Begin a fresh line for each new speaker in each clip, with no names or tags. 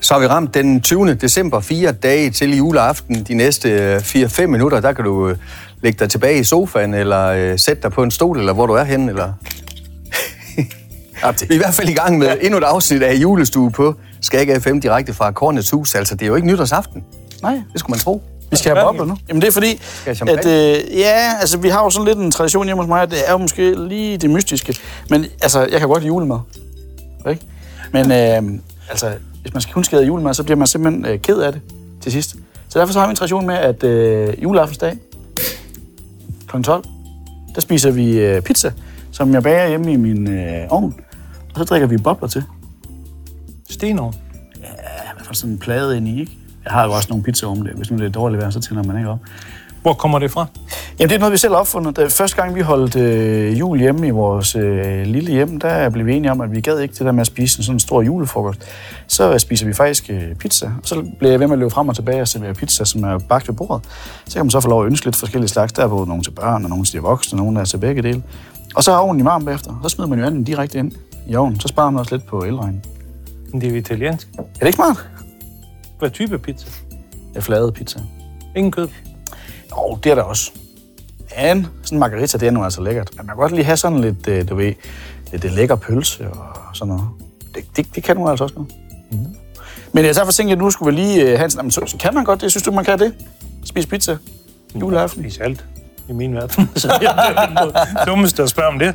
Så har vi ramt den 20. december, fire dage til juleaften. De næste øh, 4-5 minutter, der kan du øh, lægge dig tilbage i sofaen, eller øh, sætte dig på en stol, eller hvor du er henne, eller... Vi er i hvert fald i gang med endnu et afsnit af julestue på Skag FM direkte fra Kornets Hus. Altså, det er jo ikke nytårsaften.
Nej.
Det skulle man tro.
Vi skal have bobler nu. Jamen det er fordi,
jeg have
at øh, ja, altså vi har jo sådan lidt en tradition hjemme hos mig, at det er jo måske lige det mystiske. Men altså, jeg kan godt lide julemad. Ikke? Men øh, altså, hvis man skal kun skal have julemad, så bliver man simpelthen øh, ked af det til sidst. Så derfor så har vi en tradition med, at øh, juleaftensdag kl. 12, der spiser vi øh, pizza, som jeg bager hjemme i min øh, ovn. Og så drikker vi bobler til.
Stenov.
Ja, man får sådan en plade ind i, ikke? Jeg har jo også nogle pizzaovne der. Hvis nu det er dårligt vejr, så tænder man ikke op.
Hvor kommer det fra?
Jamen, det er noget, vi selv har opfundet. Da første gang, vi holdt øh, jul hjemme i vores øh, lille hjem, der blev vi enige om, at vi gad ikke det der med at spise en sådan stor julefrokost. Så spiser vi faktisk øh, pizza. Og så bliver jeg ved med at løbe frem og tilbage og servere pizza, som er bagt ved bordet. Så kan man så få lov at ønske lidt forskellige slags. Der er både nogle til børn, og nogle til de voksne, og nogle der er til begge dele. Og så har ovnen i varmen bagefter. Så smider man jo anden direkte ind i ovnen. Så sparer man også lidt på elregningen.
Men Det er jo italiensk.
Er det ikke smart?
Hvad type pizza?
Det er flade pizza.
Ingen kød.
Jo, det er der også. Men sådan en margarita, det er nu altså lækkert. Men man kan godt lige have sådan lidt, øh, du ved, lidt øh, lækker pølse og sådan noget. Det, det, det kan nu altså også noget. Mm. Men jeg så for tænkte, at nu skulle vi lige øh, have en sådan, jamen, så, så kan man godt det. Synes du, man kan det? Spise pizza? Juleaften?
Spis alt. I min verden. Så det er den måde- dummeste at spørge om det.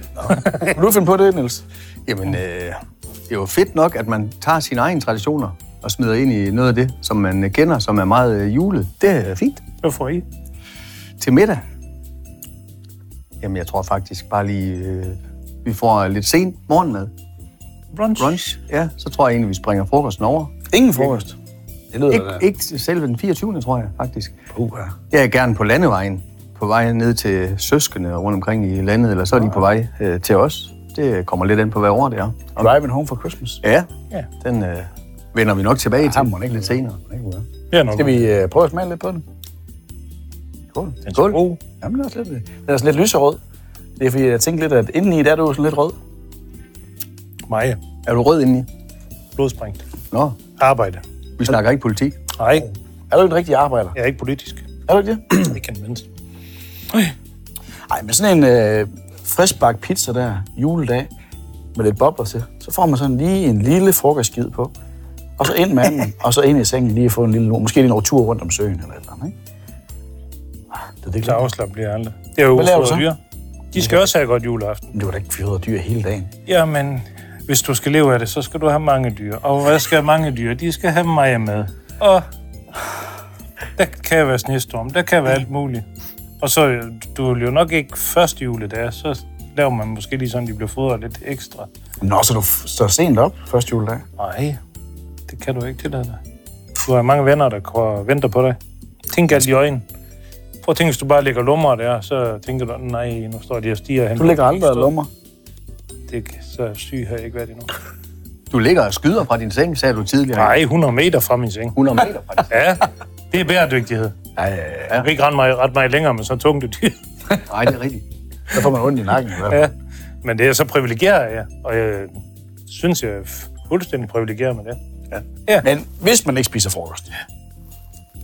Vil du finde på det, Niels?
Jamen, øh, det er jo fedt nok, at man tager sine egne traditioner og smider ind i noget af det, som man øh, kender, som er meget øh, julet. Det er fint.
Hvad får I?
Til middag? Jamen, jeg tror faktisk bare lige, øh, vi får lidt sent morgenmad.
Brunch.
Brunch, ja. Så tror jeg egentlig, vi springer frokosten over.
Ingen frokost. Det lyder
Ik-
da...
ikke selve den 24. tror jeg faktisk.
Puha.
Jeg er gerne på landevejen. På vej ned til søskende rundt omkring i landet, eller så er de på vej øh, til os. Det kommer lidt an på, hvad år det er.
Driving home for Christmas.
Ja,
Ja.
den øh, vender vi nok tilbage til.
Ah, må den ikke
lidt senere.
Det er nok.
Skal vi øh, prøve at smage lidt på den?
Skål.
Den er
Skål.
god.
Jamen, det er også lidt, øh, den er sådan lidt lyserød. Det er fordi, jeg tænkte lidt, at indeni, der er du sådan lidt rød.
Maja.
Er du rød indeni?
Blodsprængd.
Nå,
Arbejde.
vi snakker ikke politik.
Nej,
Er du en rigtig arbejder?
jeg er ikke politisk.
Er du ikke det?
Ikke en menneske.
Ej, men sådan en øh, friskbagt pizza der, juledag, med lidt bobler til, så får man sådan lige en lille frokostskid på. Og så ind med anden, og så ind i sengen lige at få en lille lur. Måske lige en over tur rundt om søen eller et eller andet, ikke? Ah, Det er det
Så
klart.
afslappet bliver jeg aldrig. Det er jo
Hvad laver du
ufrede
så?
dyr. De skal også have godt juleaften.
Men du er da ikke fyret dyr hele dagen.
Jamen, hvis du skal leve af det, så skal du have mange dyr. Og hvad skal mange dyr? De skal have mig med. Og der kan være snestorm, der kan være alt muligt. Og så, du vil jo nok ikke første juledag, så laver man måske lige sådan, de bliver fodret lidt ekstra.
Nå, så du f- står sent op første juledag.
Nej, det kan du ikke tillade dig. Du har mange venner, der går og venter på dig. Tænk alt i øjnene. Prøv at tænke, hvis du bare ligger lummer der, så tænker du, nej, nu står de og stiger hen.
Du ligger aldrig og lummer.
Det, så syg har jeg ikke været endnu.
Du ligger og skyder fra din seng, sagde du tidligere.
Nej, 100 meter fra min seng.
100 meter fra din seng.
Ja, det er bæredygtighed.
Nej, ja.
Jeg kan ikke rende mig, ret meget længere med så tungt et dyr.
Nej, det er rigtigt.
Der får man ondt i nakken i hvert fald.
Ja. Men det er så privilegeret, ja. Og jeg synes, jeg er fuldstændig privilegeret med det.
Men hvis man ikke spiser frokost,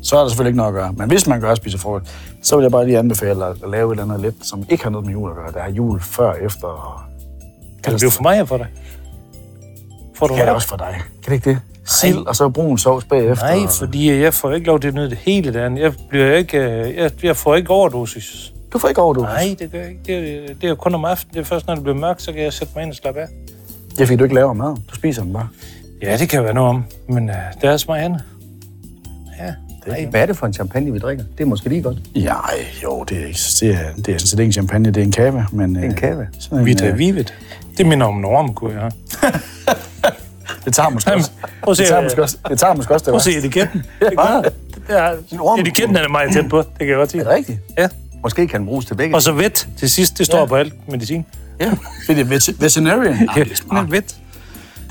så er der selvfølgelig ikke noget at gøre. Men hvis man gør spise frokost, så vil jeg bare lige anbefale at, at lave et eller andet lidt, som ikke har noget med jul at gøre. Der er jul før, efter og...
Kan det blive for mig og for dig? Får du
Kan det
ret?
også for dig. Kan det ikke det? Sild, og så brun sovs bagefter.
Nej, fordi jeg får ikke lov til at nyde det hele dagen. Jeg, bliver ikke, øh, jeg, jeg får ikke overdosis.
Du får ikke overdosis.
Nej, det gør jeg ikke. Det, er- det er jo kun om aftenen. Det er først, når det bliver mørkt, så kan jeg sætte mig ind og slappe af.
Det er fordi, du ikke laver mad. Du spiser den bare.
Ja, det kan være noget om. Men øh, der er så meget andet. Ja, nej,
Hvad er det for en champagne, vi drikker? Det er måske lige godt.
Ja, ej, jo, det er, ikke, det er, det er sådan set ikke en champagne, det er en kava. Men, øh,
En kava.
Sådan en,
Vita
øh,
Vivet. Det minder om Norm, kunne jeg.
det tager måske også.
Prøv at se,
Det tager
øh,
måske også, det tager måske også, det
Prøv at
var.
se etiketten. Det gør- det er,
orm.
etiketten er det meget tæt på, det kan jeg godt sige.
Er det rigtigt?
Ja.
Måske kan den bruges til begge.
Og så vet til sidst, det står på alt medicin.
Ja. Fordi det er vet- veterinarian. Ja, Ah, det er smart.
Men vet.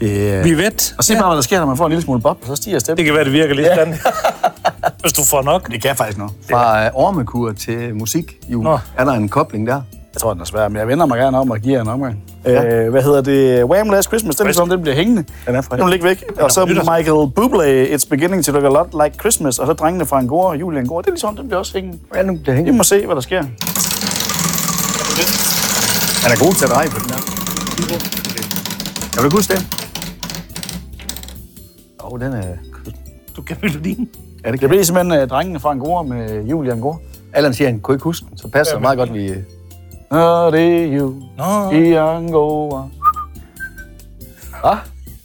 Det, er-
Vi vet.
Og se bare, hvad der sker, når man får en lille smule bob, og så stiger stemmen.
Det kan være, det virker lidt sådan. Hvis du får nok.
Det kan faktisk noget.
Fra øh, ormekur til musik, jul.
Nå.
Er der en kobling der?
Jeg tror, den er svær, men jeg vender mig gerne om og giver en omgang. Ja. Øh, hvad hedder det? Wham! Last Christmas. Den, som, den bliver hængende.
Den er fra-
Den ligger væk. Og så
er nytårs-
Michael Bublé, It's Beginning to Look a Lot Like Christmas. Og så Drengene fra Angora og Julian Angora. Det er ligesom, den bliver også hængende.
Ja, nu det
Vi
hænger.
må se, hvad der sker.
Han er god til at dreje på den der. Kan du huske den? Åh, oh, den er...
Du kan melodien.
Ja, det
Det
kan
bliver simpelthen uh, Drengene fra Angora med Julian Angora.
Allan siger, at han kunne ikke huske den, så passer det meget godt, vi... øh,
Nå, det er you
Nå,
i Angora. Hvad?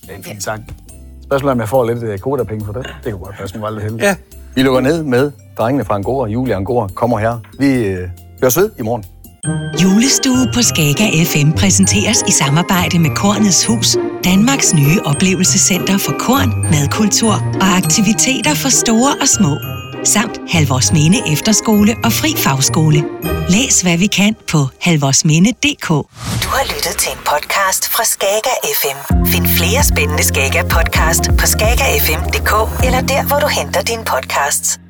Det er en fin sang. Spørgsmålet er, om jeg får lidt øh, koda-penge for det. Det kunne godt passe, men var lidt heldig.
ja.
Vi lukker ned med drengene fra Angora, Julie Angora, kommer her. Vi øh, høres ved i morgen.
Julestue på Skaga FM præsenteres i samarbejde med Kornets Hus, Danmarks nye oplevelsescenter for korn, madkultur og aktiviteter for store og små. Samt Halvorsminde Efterskole og Fri Fagskole. Læs hvad vi kan på halvorsminde.dk.
Du har lyttet til en podcast fra Skager FM. Find flere spændende Skager podcast på skagerfm.dk eller der, hvor du henter dine podcasts.